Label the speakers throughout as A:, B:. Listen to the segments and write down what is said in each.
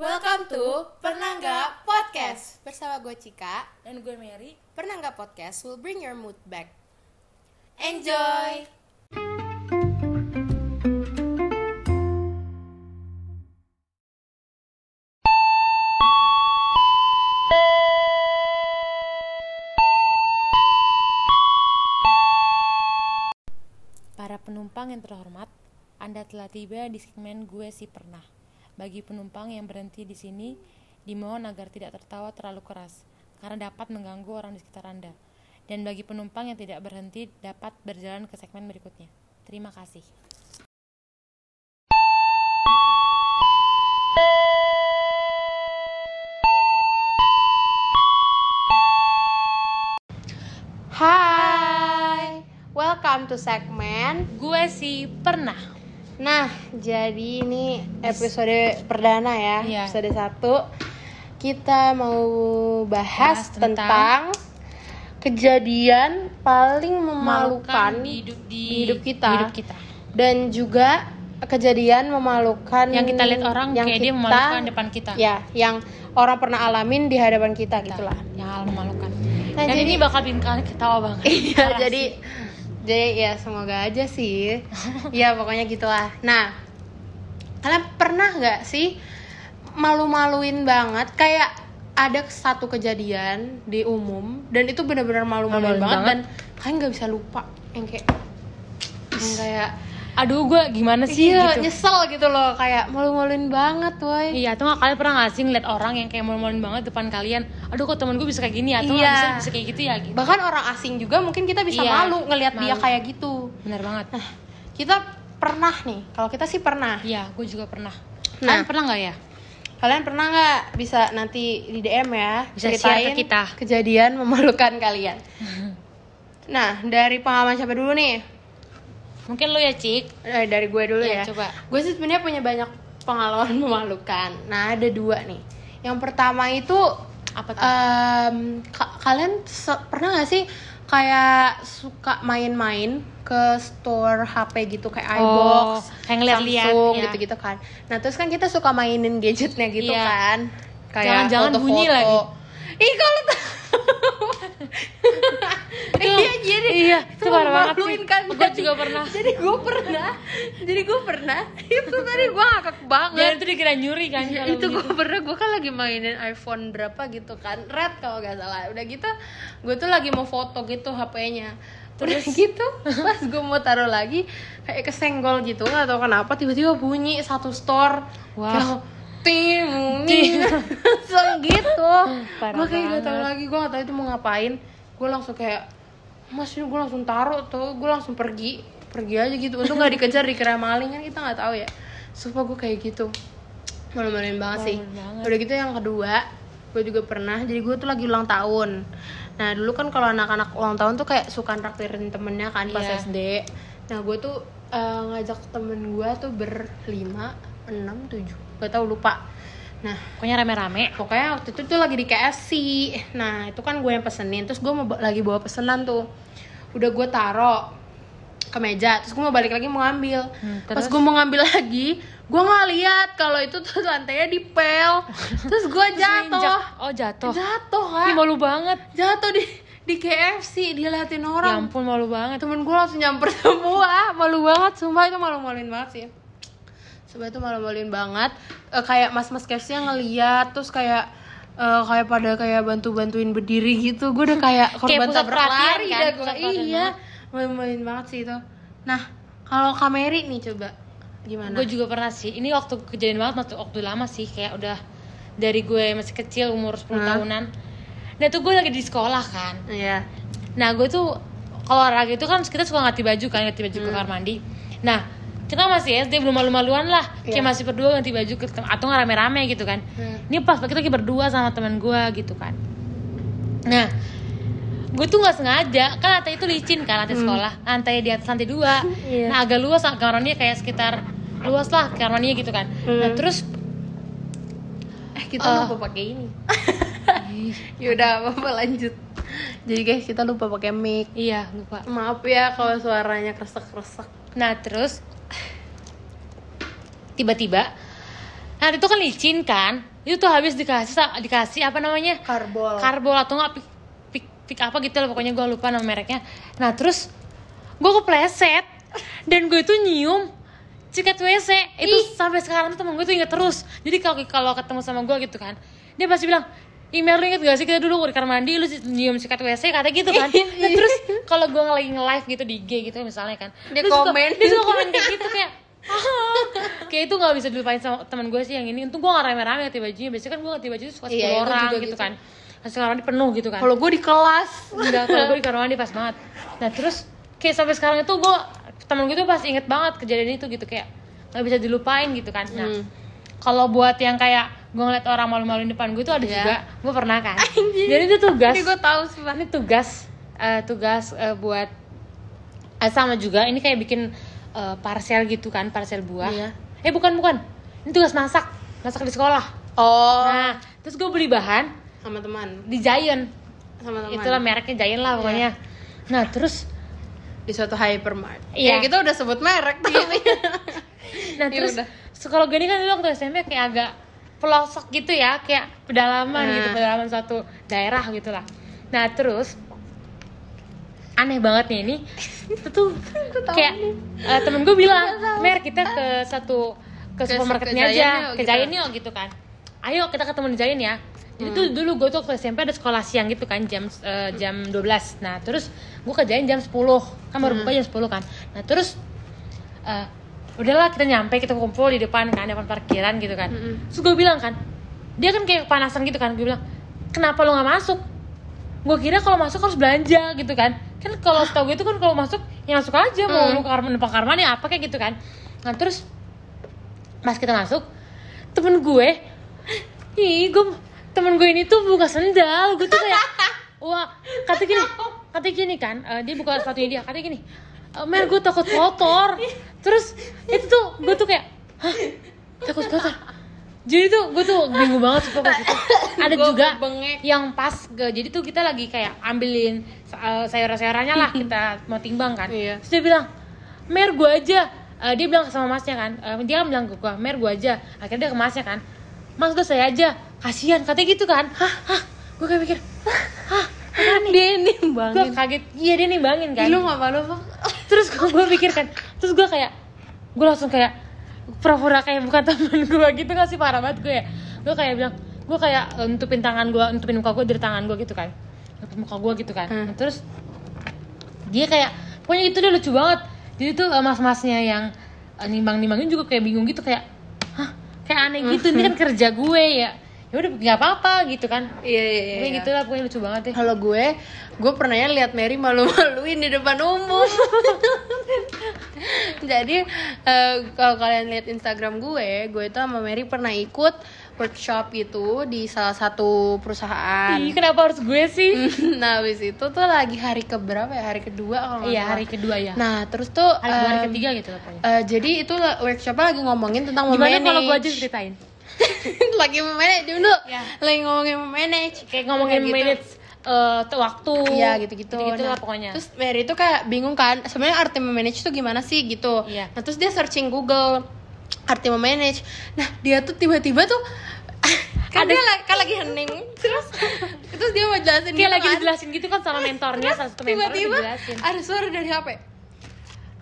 A: Welcome to Pernah Nggak Podcast
B: Bersama gue Cika,
A: Dan gue Mary
B: Pernah Nggak Podcast will bring your mood back.
A: Enjoy! Para penumpang yang terhormat, Anda telah tiba di segmen Gue Si Pernah. Bagi penumpang yang berhenti di sini, dimohon agar tidak tertawa terlalu keras, karena dapat mengganggu orang di sekitar Anda. Dan bagi penumpang yang tidak berhenti, dapat berjalan ke segmen berikutnya. Terima kasih.
B: Hai, welcome to segmen.
A: Gue sih pernah.
B: Nah, jadi ini episode perdana ya,
A: Iya.
B: episode 1. Kita mau bahas
A: Bahas
B: tentang, kejadian paling
A: Malukan
B: memalukan
A: di hidup di,
B: di hidup kita.
A: di hidup kita.
B: dan juga kejadian memalukan
A: Yang kita lihat orang
B: yang
A: kayak dia
B: kita-
A: memalukan depan kita.
B: Ya, yang orang pernah alamin di hadapan kita,
A: Kita.
B: gitulah.
A: Yang hal Ya, memalukan.
B: Nah, jadi-
A: Dan ini bakal bikin kalian ketawa banget.
B: Iya,
A: Parah
B: jadi
A: sih.
B: jadi ya semoga aja sih. ya pokoknya gitulah. Nah, kalian pernah nggak sih malu-maluin banget kayak ada satu kejadian di umum dan itu benar-benar malu-maluin
A: Malu-maluin
B: banget,
A: banget.
B: dan kalian nggak bisa lupa yang kayak yang kayak
A: aduh gue gimana sih
B: iya
A: gitu.
B: nyesel gitu loh kayak malu-maluin banget woi
A: Iya, atau nggak kalian pernah nggak sih ngeliat orang yang kayak malu-maluin banget depan kalian? Aduh, kok temen gue bisa kayak gini ya? Atau nggak
B: Iya.
A: bisa, bisa kayak gitu ya? Gitu.
B: bahkan orang asing juga mungkin kita bisa
A: Iya,
B: malu ngelihat dia
A: malu.
B: kayak gitu
A: Bener banget.
B: kita pernah nih kalau kita sih pernah
A: Iya, gue juga pernah.
B: Nah.
A: Kalian pernah nggak ya?
B: Kalian pernah nggak bisa nanti di DM ya
A: Bisa share ke kita.
B: kejadian memalukan kalian. Nah dari pengalaman siapa dulu nih?
A: Mungkin lo ya, Cik.
B: Eh, dari gue dulu
A: Iya,
B: ya.
A: coba.
B: Gue sih sebenarnya punya banyak pengalaman memalukan. Nah ada dua nih. Yang pertama itu
A: Apa tuh?
B: em, ka- kalian se- pernah nggak sih kayak suka main-main ke store HP gitu kayak
A: Oh,
B: iBox,
A: kayak ngeliat-liat,
B: Samsung
A: iya.
B: gitu-gitu kan. Nah terus kan kita suka mainin gadgetnya gitu
A: Iya.
B: kan. Kayak
A: Jangan-jangan bunyi
B: foto-foto.
A: lagi.
B: Ih kalau tahu. iya jadi
A: iya, itu parah banget
B: memaluin
A: sih.
B: kan.
A: Gua
B: Jadi-
A: juga pernah.
B: Jadi gue pernah. jadi gue pernah. Itu tadi gue ngakak banget.
A: Jangan itu dikira nyuri kan?
B: Ya,
A: kalau
B: itu
A: begitu.
B: gue pernah gue kan lagi mainin iPhone berapa gitu kan red kalau nggak salah udah gitu gue tuh lagi mau foto gitu HP-nya terus gitu pas gue mau taruh lagi kayak kesenggol gitu nggak tahu kenapa tiba-tiba bunyi satu store
A: Wah.
B: Kayak, ting ting langsung gitu
A: Parah
B: gue kayak gak tahu
A: banget.
B: lagi gue gak tahu itu mau ngapain gue langsung kayak mas ini gue langsung taruh tuh gue langsung pergi pergi aja gitu untung gak dikejar dikira maling kan kita nggak tahu ya sumpah gue kayak gitu malu-maluin banget sih
A: Malu-maluin banget.
B: udah gitu yang kedua gue juga pernah jadi gue tuh lagi ulang tahun nah dulu kan kalau anak-anak ulang tahun tuh kayak suka traktirin temennya kan pas
A: Iya.
B: SD nah gue tuh eh, ngajak temen gue tuh berlima enam tujuh gak tau lupa nah
A: Pokoknya rame-rame.
B: pokoknya waktu itu tuh lagi di KFC nah itu kan gue yang pesenin terus gue mau ba- lagi bawa pesenan tuh udah gue taro ke meja terus gue mau balik lagi mau ngambil
A: Hmm,
B: pas
A: terus?
B: gue mau ngambil lagi gue nggak lihat kalau itu tuh lantainya dipel terus gue jatuh
A: Injak. Oh, jatuh.
B: jatuh kan
A: Ih, malu banget.
B: jatuh di di KFC diliatin
A: Ya
B: orang
A: ampun, malu banget.
B: temen gue langsung nyamper semua malu banget sumpah itu malu-maluin banget sih sumpah itu malu-maluin banget Eh, kayak mas-mas KFC yang ngeliat terus kayak eh, kayak pada kayak bantu-bantuin berdiri gitu gue udah kayak korban
A: pusat
B: tabrak
A: perhatian
B: lari dah
A: kan, pusat
B: gue
A: perhatian
B: iya malu-maluin banget sih itu nah kalau kameri nih coba gimana
A: Gue juga pernah sih. Ini waktu kejadian banget waktu, waktu lama sih kayak udah dari gue masih kecil umur
B: Hmm.
A: 10 tahunan. Nah, itu gue lagi di sekolah kan.
B: iya
A: Nah gue tuh kalau olahraga itu kan kita suka ganti baju kan ganti baju
B: Hmm.
A: ke kamar mandi. Nah kita masih SD belum malu-maluan lah,
B: Iya.
A: kayak masih berdua ganti baju ke tem- atau nggak rame-rame gitu kan.
B: Hmm.
A: Ini pas kita lagi berdua sama teman gue gitu kan. Nah gue tuh nggak sengaja kan lantai itu licin kan lantai sekolah lantai di atas lantai dua
B: Hmm. Iya.
A: nah agak luas lah, kamar mandinya kayak sekitar luas lah kamar mandinya gitu kan nah
B: Hmm.
A: terus
B: eh kita
A: Eh.
B: lupa pakai ini yaudah apa lanjut jadi guys kita lupa pakai mic
A: iya lupa
B: maaf ya kalau suaranya kresek kresek
A: Nah terus tiba-tiba Nah itu kan licin kan? Itu tuh habis dikasih sa- dikasih apa namanya?
B: Karbol.
A: Karbol atau enggak pik, pik, pik apa gitu loh pokoknya gue lupa nama mereknya. Nah terus gue kepleset dan gue itu nyium ciket WC itu sampai sekarang tuh temen gue tuh inget terus. Jadi kalau kalau ketemu sama gue gitu kan, dia pasti bilang Imer lu inget gak sih kita dulu di kamar mandi lu nyium sikat WC kata gitu kan Nah, terus kalau gue lagi nge-live gitu di IG gitu misalnya kan
B: Dia
A: suka-
B: komen.
A: dia suka komen kayak gitu kayak "Ah." kayak itu nggak bisa dilupain sama teman gue sih yang ini untung gue nggak rame-rame ganti bajunya biasanya kan gue ganti baju tuh suka
B: Iya,
A: sepuluh
B: itu
A: orang
B: juga
A: gitu,
B: gitu.
A: kan hasil kamar mandi penuh gitu kan
B: Kalau gue di kelas.
A: enggak kalau gue di kamar mandi pas banget nah terus kayak sampai sekarang itu gue temen gue tuh pasti inget banget kejadian itu gitu kayak nggak bisa dilupain gitu kan nah
B: Hmm.
A: kalau buat yang kayak gue ngeliat orang malu-maluin depan gue tuh ada
B: Iya.
A: juga gue pernah kan jadi itu tugas
B: Ini gue tahu sumpah.
A: ini tugas eh, tugas eh, buat eh, sama juga ini kayak bikin eh, parcel gitu kan parcel buah
B: Iya.
A: eh bukan bukan ini tugas masak masak di sekolah
B: Oh,
A: nah terus gue beli bahan
B: sama teman.
A: di Giant
B: Sama teman.
A: itulah mereknya Giant lah pokoknya nah terus
B: di suatu hypermart. Ya,
A: Iya.
B: kita udah sebut merek gitu. tapi.
A: nah
B: Ya
A: terus
B: udah.
A: sekolah gue ini kan dulu waktu SMP kayak agak pelosok gitu ya kayak pedalaman
B: Nah.
A: gitu pedalaman suatu daerah gitulah nah terus aneh banget nih ini itu tuh
B: tahu
A: kayak eh, temen gue bilang mer kita ke satu ke,
B: Ke-
A: supermarketnya
B: ke
A: aja
B: Giant yuk,
A: ke
B: gitu.
A: Giant yuk gitu kan ayo kita ketemu di Giant ya jadi tuh
B: Hmm.
A: dulu gue tuh waktu SMP ada sekolah siang gitu kan jam eh, jam 12 nah terus gue ke Giant jam 10 kan
B: Hmm.
A: baru buka jam 10 kan nah terus eh, udahlah kita nyampe kita kumpul di depan kan depan parkiran gitu kan
B: Mm-mm.
A: terus gue bilang kan dia kan kayak kepanasan gitu kan gue bilang kenapa lo nggak masuk gue kira kalau masuk harus belanja gitu kan kan kalau setahu gue itu kan kalau masuk ya masuk aja mau
B: Hmm.
A: lu karman depan karman ya apa kayak gitu kan nah terus pas kita masuk temen gue ih gue temen gue ini tuh buka sendal gue tuh kayak wah kata gini kata gini kan eh, dia buka sepatunya dia kata gini "Eh, Mer gue takut kotor terus itu tuh gue tuh kayak hah takut kotor jadi tuh gue tuh bingung banget sumpah pas itu ada
B: Gua
A: juga
B: bengek.
A: yang pas ke jadi tuh kita lagi kayak ambilin uh, sayur-sayurannya lah kita mau timbang kan
B: Iya.
A: terus dia bilang mer gue aja Eh, dia bilang sama masnya kan eh, dia kan bilang ke gue mer gue aja akhirnya dia ke masnya kan mas udah saya aja kasihan katanya gitu kan hah hah gue kayak mikir hah
B: Kan Dia ini
A: gue
B: banget.
A: kaget iya dia nimbangin kan
B: Ih, lu ngapa lu?
A: terus gue pikirkan terus gue kayak gue langsung kayak pura-pura kayak bukan temen gue gitu gak sih parah banget gue ya gue kayak bilang gue kayak entupin tangan gue entupin muka gue dari tangan gue gitu kan entupin muka gue gitu kan
B: Hmm.
A: terus dia kayak pokoknya itu dia lucu banget jadi tuh eh, mas-masnya yang eh, nimbang-nimbangin juga kayak bingung gitu kayak hah kayak aneh
B: Hmm.
A: gitu ini kan kerja gue ya ya udah nggak apa-apa gitu kan
B: Iya, iya,
A: Pokoknya
B: iya.
A: gitu lah pokoknya lucu banget deh
B: Kalau gue, gue pernahnya lihat Mary malu-maluin di depan umum. Jadi eh, kalau kalian lihat Instagram gue, gue itu sama Mary pernah ikut workshop gitu di salah satu perusahaan.
A: Ih, kenapa harus gue sih
B: nah, habis itu tuh lagi hari keberapa ya? Hari kedua kalau nggak
A: iya
B: salah.
A: hari kedua ya
B: Nah, terus tuh
A: hari, kedua, hari
B: em,
A: ketiga gitu lah pokoknya
B: Eh, jadi itu workshopnya lagi ngomongin tentang
A: Gimana
B: memanage.
A: kalau gue aja ceritain?
B: lagi memanage diem dulu.
A: Ya.
B: Lagi ngomongin memanage.
A: Kayak ngomongin
B: Kayak gitu.
A: minutes eh, tuh waktu
B: Iya gitu-gitu.
A: gitu lah
B: Nah,
A: pokoknya
B: Terus Mary itu kayak bingung kan, sebenarnya arti memanage itu gimana sih gitu.
A: Iya.
B: Nah, terus dia searching Google arti memanage. Nah, dia tuh tiba-tiba tuh kan dia la- kan lagi hening. Terus terus dia mau jelasin
A: Kayak
B: gitu
A: lagi
B: kan.
A: dijelasin gitu kan sama mentornya Salah satu mentornya
B: tiba-tiba
A: dijelasin
B: ada suara dari HP.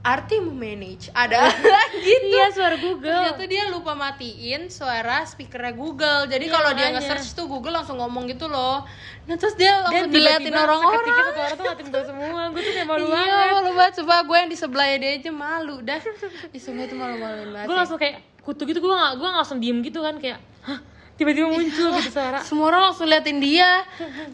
B: Arti memanage ada gitu.
A: Iya suara Google
B: Ternyata dia lupa matiin suara speakernya Google. Jadi
A: Iya,
B: kalau dia
A: makanya.
B: nge-search tuh Google langsung ngomong gitu loh. Nah, terus dia
A: Dan
B: langsung
A: tiba-tiba
B: diliatin orang-orang.
A: seketika satu orang tuh ngatin gue semua Gue tuh kayak malu
B: Iya,
A: banget
B: malu banget. Coba gue yang di sebelahnya dia aja malu dah. Di semua itu malu-maluin banget.
A: Gue
B: sih.
A: langsung kayak kutu gitu Gue gak, gua nggak langsung diem gitu kan Kayak Hah? Tiba-tiba
B: Iya.
A: muncul gitu suara
B: Semua orang langsung liatin dia.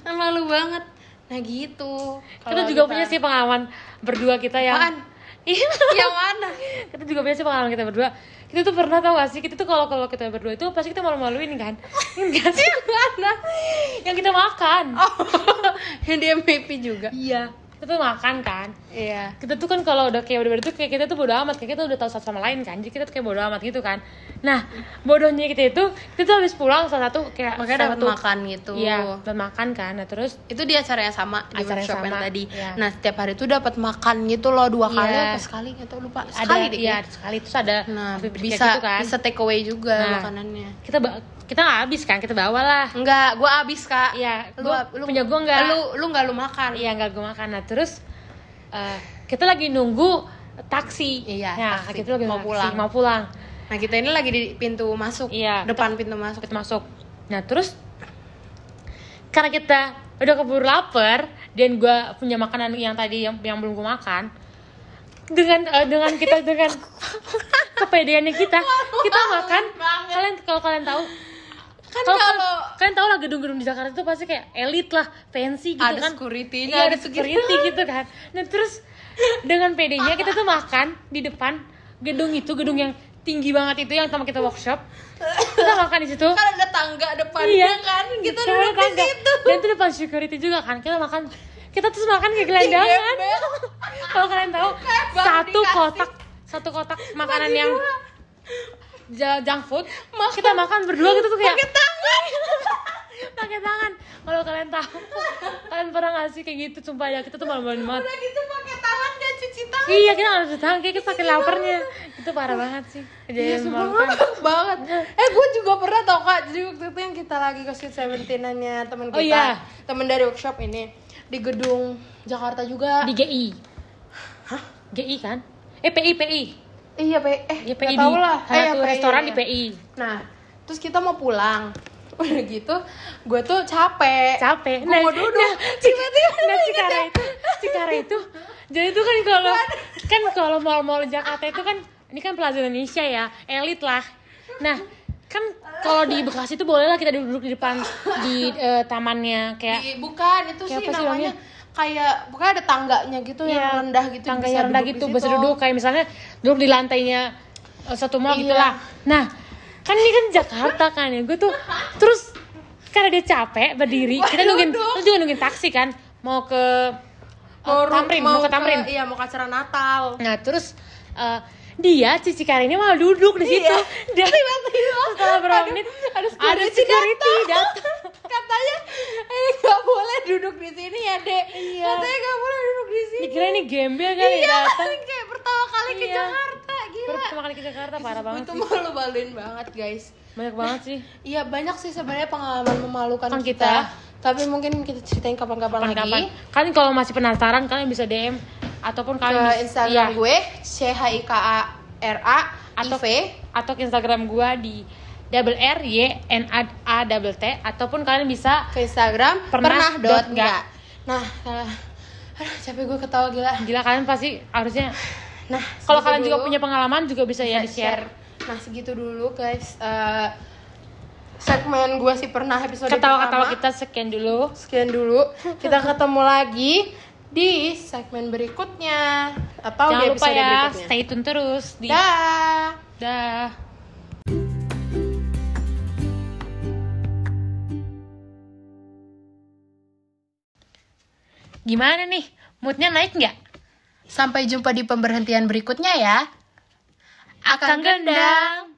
B: Kan malu banget. Nah, gitu.
A: Kita juga punya sih pengalaman Berdua kita
B: Apaan?
A: yang Iya
B: Yang mana?
A: kita juga punya sih pengalaman kita berdua kita tuh pernah tau gak sih kita tuh kalau kalau kita berdua itu pasti kita malu-maluin kan enggak sih
B: Yang mana?
A: yang kita makan
B: Oh, yang di MVP juga.
A: iya kita tuh makan kan
B: Iya.
A: kita tuh kan kalau udah kayak udah tuh kayak kita tuh bodo amat kayak kita udah tahu satu sama lain kan jadi kita tuh kayak bodo amat gitu kan nah bodohnya kita itu kita tuh habis pulang salah satu kayak
B: Makanya dapat
A: satu-
B: makan gitu.
A: iya dapat makan kan nah terus
B: Itu di acara yang sama di
A: Acara yang
B: workshop yang
A: sama,
B: tadi.
A: iya.
B: Nah, setiap hari itu dapat makan gitu loh dua kali
A: Iya.
B: apa sekali atau lupa.
A: ada
B: Sekali deh.
A: iya sekali terus ada
B: Nah,
A: coffee break kayak
B: bisa
A: gitu kan
B: bisa take away juga
A: Nah.
B: makanannya.
A: kita ba- kita nggak habis kan kita bawa lah
B: Enggak, gua habis, Kak.
A: Iya,
B: lu,
A: gua-
B: lu
A: punya gua enggak.
B: Lu lu enggak lu makan.
A: iya nggak gue makan nah terus eh, kita lagi nunggu taksi
B: Iya,
A: nah,
B: taksi.
A: kita lagi
B: Mau
A: taksi,
B: pulang.
A: mau pulang
B: Nah, kita ini lagi di pintu masuk.
A: Iya,
B: Depan pintu masuk.
A: kita masuk nah terus karena kita udah keburu lapar dan gue punya makanan yang tadi yang yang belum gue makan dengan eh, dengan kita dengan kepedeannya kita kita makan
B: banget.
A: kalian kalau kalian tahu
B: Kan
A: kalau
B: kalau
A: kalian tahu lah gedung-gedung di Jakarta itu pasti kayak elit lah fancy gitu
B: Ada
A: kan
B: security-nya,
A: iya, ada
B: ada security.
A: security gitu kan nah terus dengan pedenya kita tuh makan di depan gedung itu gedung yang tinggi banget itu yang sama kita workshop kita makan di situ Iya.
B: kan ada tangga depannya kan kita
A: Sama
B: duduk di
A: tetangga.
B: situ
A: kan. dan itu depan security juga kan kita makan kita terus makan kayak gelandangan
B: Digembel.
A: kalau kalian tahu
B: Lebar
A: satu
B: Iya, dikasih.
A: kotak satu kotak makanan yang
B: dua.
A: ja- junk food kita makan berdua gitu tuh kayak
B: pakai tangan
A: pakai tangan kalau kalian tahu kalian pernah nggak sih kayak gitu sumpah ya kita tuh malu-malu banget
B: udah gitu pakai tangan gak cuci tangan
A: iya kita nggak bisa tangan kayak kita pakai laparnya itu parah banget sih
B: Iya,
A: kan kejadian
B: sumpah
A: memalukan
B: banget. Eh, gue juga pernah tau kak. Jadi waktu itu yang kita lagi ke Sweet Seventeen-annya temen kita,
A: Oh, iya.
B: temen dari workshop ini di gedung Jakarta juga.
A: di GI GI kan eh PI PI
B: Iya, P. Eh, nggak
A: ya PI di
B: tahu lah.
A: salah
B: Eh,
A: satu
B: PI,
A: restoran
B: iya.
A: di PI
B: Nah, terus kita mau pulang. Udah gitu, gue tuh capek.
A: capek
B: Eh,
A: Nah,
B: Gua mau duduk.
A: tiba-tiba nah, Cikara itu Cikara itu jadi itu kan kalau kan kalau mall-mall Jakarta itu kan ini kan Plaza Indonesia ya elit lah nah kan kalau di Bekasi itu bolehlah kita duduk di depan di eh, tamannya kayak
B: Di- bukan itu sih
A: Kayak apa sih
B: namanya
A: namanya?
B: kayak bukan ada tangganya gitu yang
A: ya,
B: rendah gitu
A: tangga
B: bisa
A: yang rendah
B: duduk di
A: gitu
B: situ.
A: bisa duduk kayak misalnya duduk di lantainya eh, satu mall
B: Iya.
A: gitu lah nah kan ini kan Jakarta kan ya gue tuh terus karena dia capek berdiri
B: Waduh,
A: kita nungguin
B: dong.
A: terus juga nungguin taksi kan mau ke
B: Oh, mau
A: eh, Tamrin mau, ke Tamrin
B: iya mau ke acara Natal
A: nah terus eh, dia Cici Kari ini malah duduk di situ dan setelah berapa
B: Ada-
A: menit
B: Iya. ada
A: ada
B: security
A: security datang
B: katanya eh nggak boleh duduk di sini ya dek
A: Iya.
B: katanya nggak boleh duduk di sini
A: dikira ini gembel kali
B: iya
A: datang
B: kayak pertama kali ke
A: Iya.
B: Jakarta
A: baru
B: gila
A: pertama kali ke Jakarta parah banget
B: itu
A: sih.
B: malu baluin banget guys
A: banyak banget sih
B: Iya banyak sih sebenarnya pengalaman memalukan
A: Kan
B: kita.
A: kita.
B: Tapi mungkin kita ceritain kapan-kapan lagi
A: kapan-kapan. Kalian Kan kalau masih penasaran kalian bisa DM ataupun
B: ke
A: kalian bisa-
B: Instagram
A: iya.
B: gue c h i k a r a i
A: Atau-
B: v
A: atau ke Instagram gue di double R Y N A A double T ataupun kalian bisa
B: ke Instagram
A: Pernah
B: pernah,
A: dot
B: dot nggak. Nah, eh, aduh, capek gue ketawa gila.
A: gila kalian pasti harusnya
B: Nah,
A: kalau
B: segitu
A: kalian juga
B: dulu.
A: punya pengalaman juga bisa ya
B: Nah,
A: di share.
B: Nah, segitu dulu guys. Eh, segmen gue sih pernah episode pertama.
A: Ketawa-ketawa kita sekian dulu.
B: Sekian dulu. Kita ketemu lagi di segmen berikutnya atau di
A: Jangan lupa
B: Oh, iya, episode
A: ya
B: berikutnya.
A: stay tune terus di
B: Dah.
A: dah. Gimana nih? Moodnya naik nggak?
B: Sampai jumpa di pemberhentian berikutnya ya.
A: Kang Gendang.